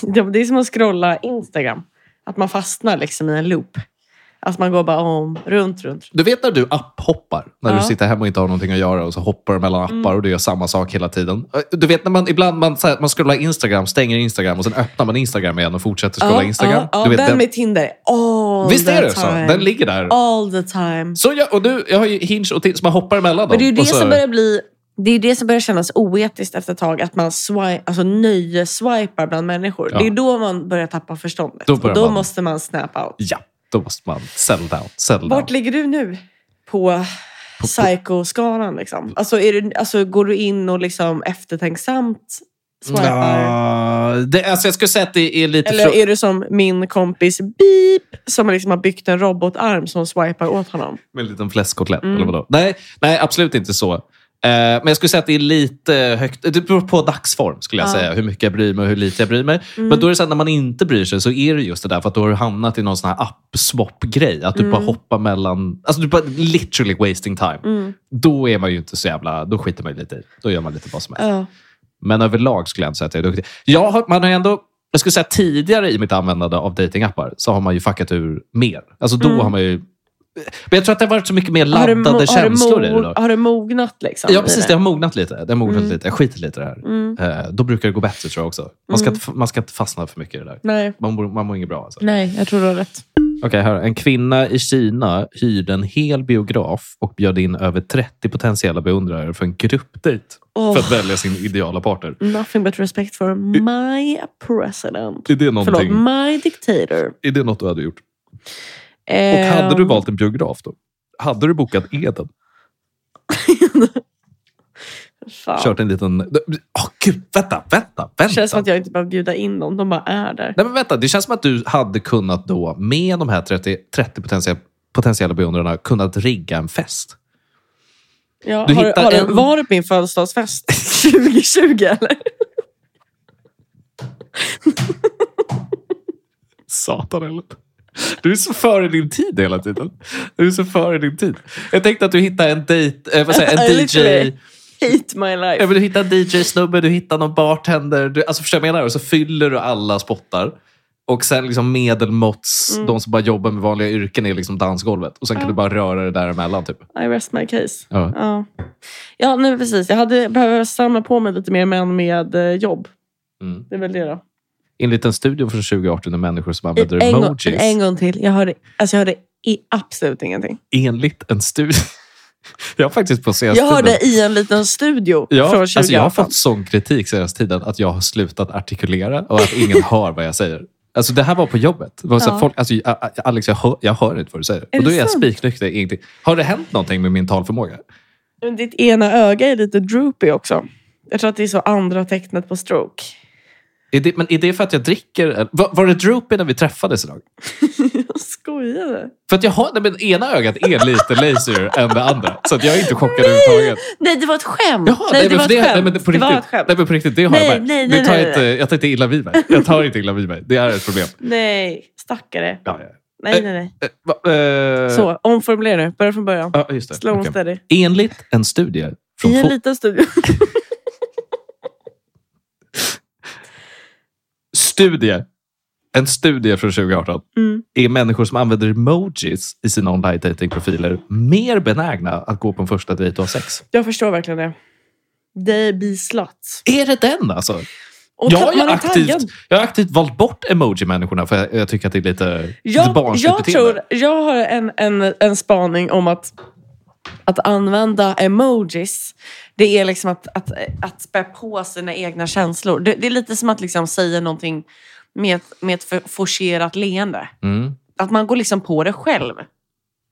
B: det det är som att scrolla Instagram. Att man fastnar liksom i en loop. Att man går bara om, runt, runt.
A: Du vet när du apphoppar? När
B: Ja. Mm.
A: du sitter hemma och inte har någonting att göra och så hoppar du mellan appar och du gör samma sak hela tiden. Eh, Du vet när man ibland man, så här, man scrollar Instagram, stänger Instagram och sen öppnar man Instagram igen och fortsätter scrolla
B: Ja,
A: Instagram.
B: Ja, ja,
A: du vet,
B: den med Tinder. All
A: Visst
B: the
A: är det så?
B: time.
A: Den ligger där.
B: All the time.
A: Så jag, och du, jag har ju Hinge och Tinder som jag hoppar emellan
B: Men det är ju
A: dem.
B: det
A: och så,
B: som börjar bli... Det är ju det som börjar kännas oetiskt efter ett tag. Att man swi- alltså nöjeswipar bland människor.
A: Ja.
B: Det är då man börjar tappa förståndet.
A: Då börjar
B: och då
A: man-
B: måste man snap out.
A: Ja, då måste man sell down. Sell down.
B: Vart ligger du nu på psykoskalan? Liksom? Alltså, är du, alltså, går du in och liksom eftertänksamt swipar?
A: Ja, det, alltså jag skulle säga att det är lite...
B: Eller
A: frå-
B: är du som min kompis Beep som liksom har byggt en robotarm som swipar åt honom?
A: Med en liten fläskkotlett
B: Mm.
A: eller vadå? Nej, nej, absolut inte så. Eh, men jag skulle säga att det är lite högt. Det beror på dagsform skulle jag
B: Ja. Mm.
A: säga. Hur mycket jag bryr mig och hur lite jag bryr mig. Men då är det så att när man inte bryr sig så är det just det där för att då har du hamnat i någon sån här app-swap-grej. Att du bara hoppar mellan... Alltså du bara literally wasting time.
B: Mm.
A: Då är man ju inte så jävla... Då skiter man ju lite i. Då gör man lite vad som helst.
B: Ja.
A: Men överlag skulle jag inte säga att jag är duktig. Jag har, man har ändå, jag skulle säga tidigare i mitt användande av datingappar så har man ju fuckat ur mer. Alltså då har man ju... Men jag tror att det har varit så mycket mer
B: Mm. Har du
A: laddade
B: mo- har du
A: känslor i
B: mo-
A: det. Då.
B: Har du mognat liksom?
A: Ja,
B: i
A: precis. Det
B: det?
A: har mognat lite. Det har mognat
B: Mm.
A: lite. Jag skiter lite i det här.
B: Mm.
A: Eh, då brukar det gå bättre tror jag också. Man ska,
B: Mm.
A: inte f- man ska inte fastna för mycket i det där.
B: Nej.
A: Man mår, man mår inget bra. Alltså.
B: Nej, jag tror du har rätt.
A: Okej, här. En kvinna i Kina hyrde en hel biograf och bjöd in över 30 potentiella beundrare för en gruppdejt
B: Åh,
A: för att välja sin ideala partner.
B: Nothing but respect for my president.
A: Är det, någonting,
B: Förlåt, my dictator.
A: är det något du hade gjort? Och hade
B: Ehm.
A: du valt en biograf då? Hade du bokat Eden?
B: Fan.
A: Kört en liten... Åh gud, vänta, vänta,
B: Det känns som
A: vänta.
B: att jag inte behöver bjuda in dem. De bara är där.
A: Nej, men vänta. Det känns som att du hade kunnat då, med de här 30, 30 potentiella, potentiella beundrarna, kunnat rigga en fest.
B: Ja,
A: Du
B: har,
A: hittar
B: har
A: en-
B: Var det min födelsedagsfest 2020 eller?
A: Satan eller? Du är så före din tid hela tiden. Du är så före din tid. Jag tänkte att du hittar en dejt... Eh, vad säger, jag, en DJ...
B: Literally. Hate my
A: Ja,
B: life.
A: men du hittar en DJ-snubbe, du hittar någon bartender. Du, alltså förstår jag vad jag menar? Och så fyller du alla spottar. Och sen liksom medelmåtts,
B: Mm.
A: de som bara jobbar med vanliga yrken är liksom dansgolvet. Och sen kan
B: Ja.
A: du bara röra det däremellan. Typ.
B: I rest my case.
A: Ja.
B: Ja, ja nej, men precis. Jag hade behöver samla på mig lite mer män med eh, jobb.
A: Mm.
B: Det är väl det då.
A: Enligt en studie från 2018 av människor som använder
B: en, gång,
A: emojis.
B: en gång till. Jag hörde, alltså jag hörde i absolut ingenting.
A: Enligt en studie. jag har faktiskt på senaste
B: Jag hörde i en liten studio
A: Ja,
B: från 2018.
A: alltså jag har fått sån kritik senaste tiden att jag har slutat artikulera och att ingen hör vad jag säger. Alltså det här var på jobbet. Det var så här,
B: Ja.
A: folk, alltså, jag- jag- Alex, jag hör, jag hör inte vad du säger.
B: Är
A: och då
B: det
A: är jag
B: sant?
A: spiknykter. Ingenting. Har det hänt någonting med min talförmåga?
B: Men Ditt ena öga är lite droopy också. Jag tror att det är så andra tecknet på stroke.
A: Är det, men är det för att jag dricker? eller- Var, var det droopy när vi träffades idag?
B: jag skojade.
A: För att jag har, nej, men ena ögat är lite lazier än det andra. Så att jag är inte chockad överhuvudtaget.
B: Nej, det var ett skämt.
A: Jaha,
B: nej, det,
A: men
B: var
A: för
B: ett
A: nej,
B: skämt.
A: men på
B: det
A: riktigt,
B: var ett skämt.
A: Nej, men på riktigt. Det har
B: Nej,
A: jag nej,
B: nej, nej,
A: tar
B: nej,
A: inte,
B: nej.
A: Jag tar inte illa vid mig. Jag tar inte illa vid mig. Det är ett problem.
B: Nej, stackare.
A: Ja, ja.
B: Nej, nej, nej.
A: Eh, va- eh,
B: Så, omformulera nu. Börja från början.
A: Ja, just det.
B: Slow and
A: Okej.
B: steady.
A: Enligt en studie från
B: I en
A: Fo-
B: liten studio.
A: studie, en studie från 2018
B: Mm.
A: är människor som använder emojis i sina online datingprofiler mer benägna att gå på en första dejt och ha sex.
B: Jag förstår verkligen det. They be sluts.
A: Är det den alltså?
B: Och
A: jag,
B: ta-
A: har ju
B: man är
A: aktivt,
B: taggad.
A: jag har aktivt valt bort emoji-människorna för jag, jag tycker att det är lite, lite
B: Jag,
A: barnsligt
B: jag,
A: beteende.
B: tror, jag har en, en, en spaning om att, att använda emojis, det är liksom att, att, att spä på sina egna känslor. Det, det är lite som att liksom säga någonting med, ett- med ett för- forcerat leende.
A: Mm.
B: Att man går liksom på det själv.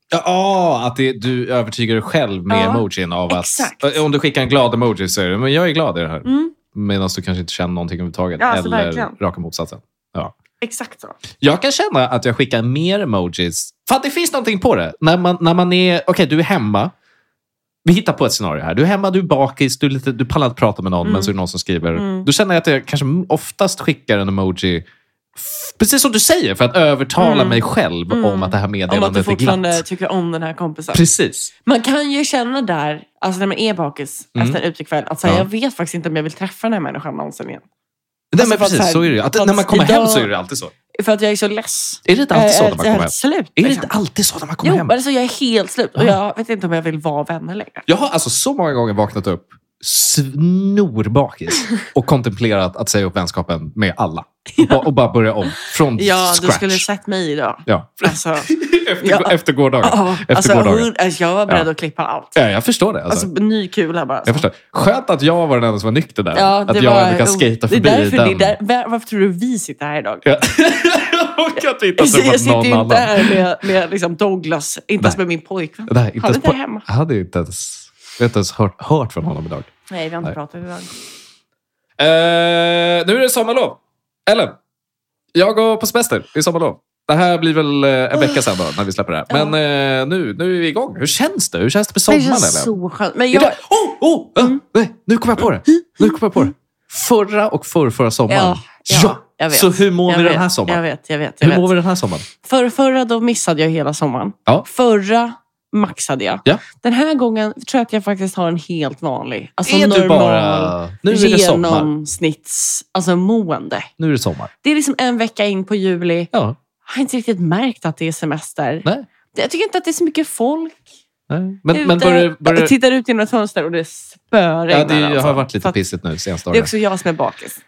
A: Ja, ah, att det, du övertygar dig själv med
B: Ja,
A: emojin av att...
B: exakt.
A: Ö, Om du skickar en glad emoji så är det, men jag är glad i det här.
B: Mm,
A: Medan du kanske inte känner någonting överhuvudtaget.
B: Ja, alltså
A: eller
B: verkligen.
A: raka motsatsen. Ja.
B: exakt så.
A: Jag kan känna att jag skickar mer emojis. För att det finns någonting på det. När man, när man är... Okej, du är hemma. Vi hittar på ett scenario här. Du är hemma, du är bakis, du, är lite, du pallar inte prata med någon,
B: Mm.
A: men så är det någon som skriver.
B: Mm.
A: Då känner jag att jag kanske oftast skickar en emoji, f- precis som du säger, för att övertala
B: Mm.
A: mig själv
B: Mm.
A: om att det här
B: Om att du
A: meddelandet är
B: fortfarande
A: glatt.
B: tycker om den här kompisen.
A: Precis.
B: Man kan ju känna där, alltså när man är bakis
A: Mm.
B: efter en utekväll, att säga,
A: Ja.
B: jag vet faktiskt inte om jag vill träffa den här människan någonsin igen.
A: Nej,
B: Alltså,
A: men
B: för att
A: precis,
B: så här,
A: så är det ju. Att,
B: att
A: När man kommer hem
B: idag- Äh,
A: så är det alltid så.
B: För att jag är så less. Eh,
A: Är det inte alltid så när man kommer
B: jag är
A: hem?
B: slut.
A: Är det
B: liksom.
A: inte alltid så när man kommer
B: Jo,
A: hem?
B: alltså jag är helt slut. Och
A: Ja.
B: jag vet inte om jag vill vara vänner längre.
A: Jag har alltså så många gånger vaknat upp snorbakis och kontemplerat att säga upp vänskapen med alla. Och ba- Och bara börja om från
B: Ja, du
A: scratch.
B: skulle sett mig idag.
A: Ja.
B: Alltså,
A: efter,
B: Ja.
A: efter gårdagen.
B: åh, alltså,
A: gårdagen.
B: hund, alltså, jag var beredd
A: Ja.
B: att klippa allt.
A: Ja, jag förstår det. Alltså.
B: Alltså, ny kula bara.
A: jag förstår. Skönt att jag var den enda som var nykter där.
B: Ja, det
A: att jag
B: var-
A: ändå kan
B: oh,
A: skata förbi
B: det är därför,
A: den.
B: Det är där, var- varför tror du vi sitter här idag?
A: Ja. och att vi inte har
B: Jag,
A: träffat
B: sitter
A: någon
B: ju inte
A: annan.
B: här med, med liksom Douglas, inte ens med min pojkvän.
A: Nej, inte
B: Han är
A: ens
B: inte
A: på,
B: hemma.
A: jag hade inte ens, jag har inte ens hört, hört från honom idag.
B: Nej, vi har inte
A: Nej.
B: pratat idag.
A: Eh, nu är det sommarlov. Ellen, jag går på semester. Det är sommarlov. Det här blir väl eh, en vecka sen då, när vi släpper det här. Men eh, nu, nu är vi igång. Hur känns det? Hur känns det med sommaren?
B: det känns
A: Ellen?
B: så Mm. skönt. Men jag,
A: Idag- Oh, oh, ah, nej, nu kom jag på det. Nu kom jag på det. Förra och förra, förra sommaren.
B: Ja, ja, jag vet.
A: Så hur mår
B: jag
A: vi
B: vet,
A: den här sommaren?
B: Jag vet, jag vet. Jag
A: hur
B: vet.
A: mår vi den här sommaren?
B: För, förra då missade jag hela sommaren.
A: Ja.
B: Förra maxade jag.
A: Ja.
B: Den här gången tror jag att jag faktiskt har en helt vanlig, alltså
A: är
B: normal,
A: du bara... Nu är det sommar.
B: genomsnitts, alltså mående.
A: Nu är det sommar.
B: Det är liksom en vecka in på juli.
A: Ja,
B: Jag har inte riktigt märkt att det är semester.
A: nej.
B: Jag tycker inte att det är så mycket folk.
A: nej. Men,
B: ute.
A: men börjar... börjar
B: Jag tittar ut genom ett fönster och det spöregnar.
A: ja, det
B: alltså.
A: har varit
B: Så
A: lite
B: att
A: pissigt nu senaste
B: Det är
A: dagarna.
B: också jag som är bakis.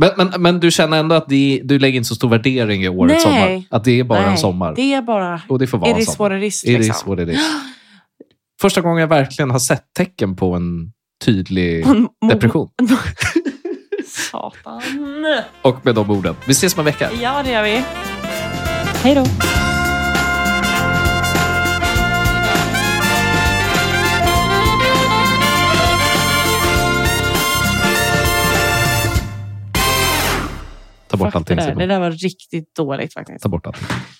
A: Men, men, men du känner ändå att det, du lägger inte så stor värdering i årets
B: Nej.
A: sommar? Att det är bara en
B: Nej,
A: sommar?
B: Det är bara...
A: och det får vara
B: Är
A: en
B: det
A: sommar?
B: svårare risk?
A: It
B: Liksom.
A: is what it is. Första gången jag verkligen har sett tecken på en tydlig depression.
B: Satan.
A: Och med de orden, vi ses om en vecka.
B: Ja, det gör vi. Hej då.
A: Ta bort
B: Fuck det,
A: allting.
B: där. det
A: Simon.
B: där var riktigt dåligt faktiskt.
A: Ta bort allting.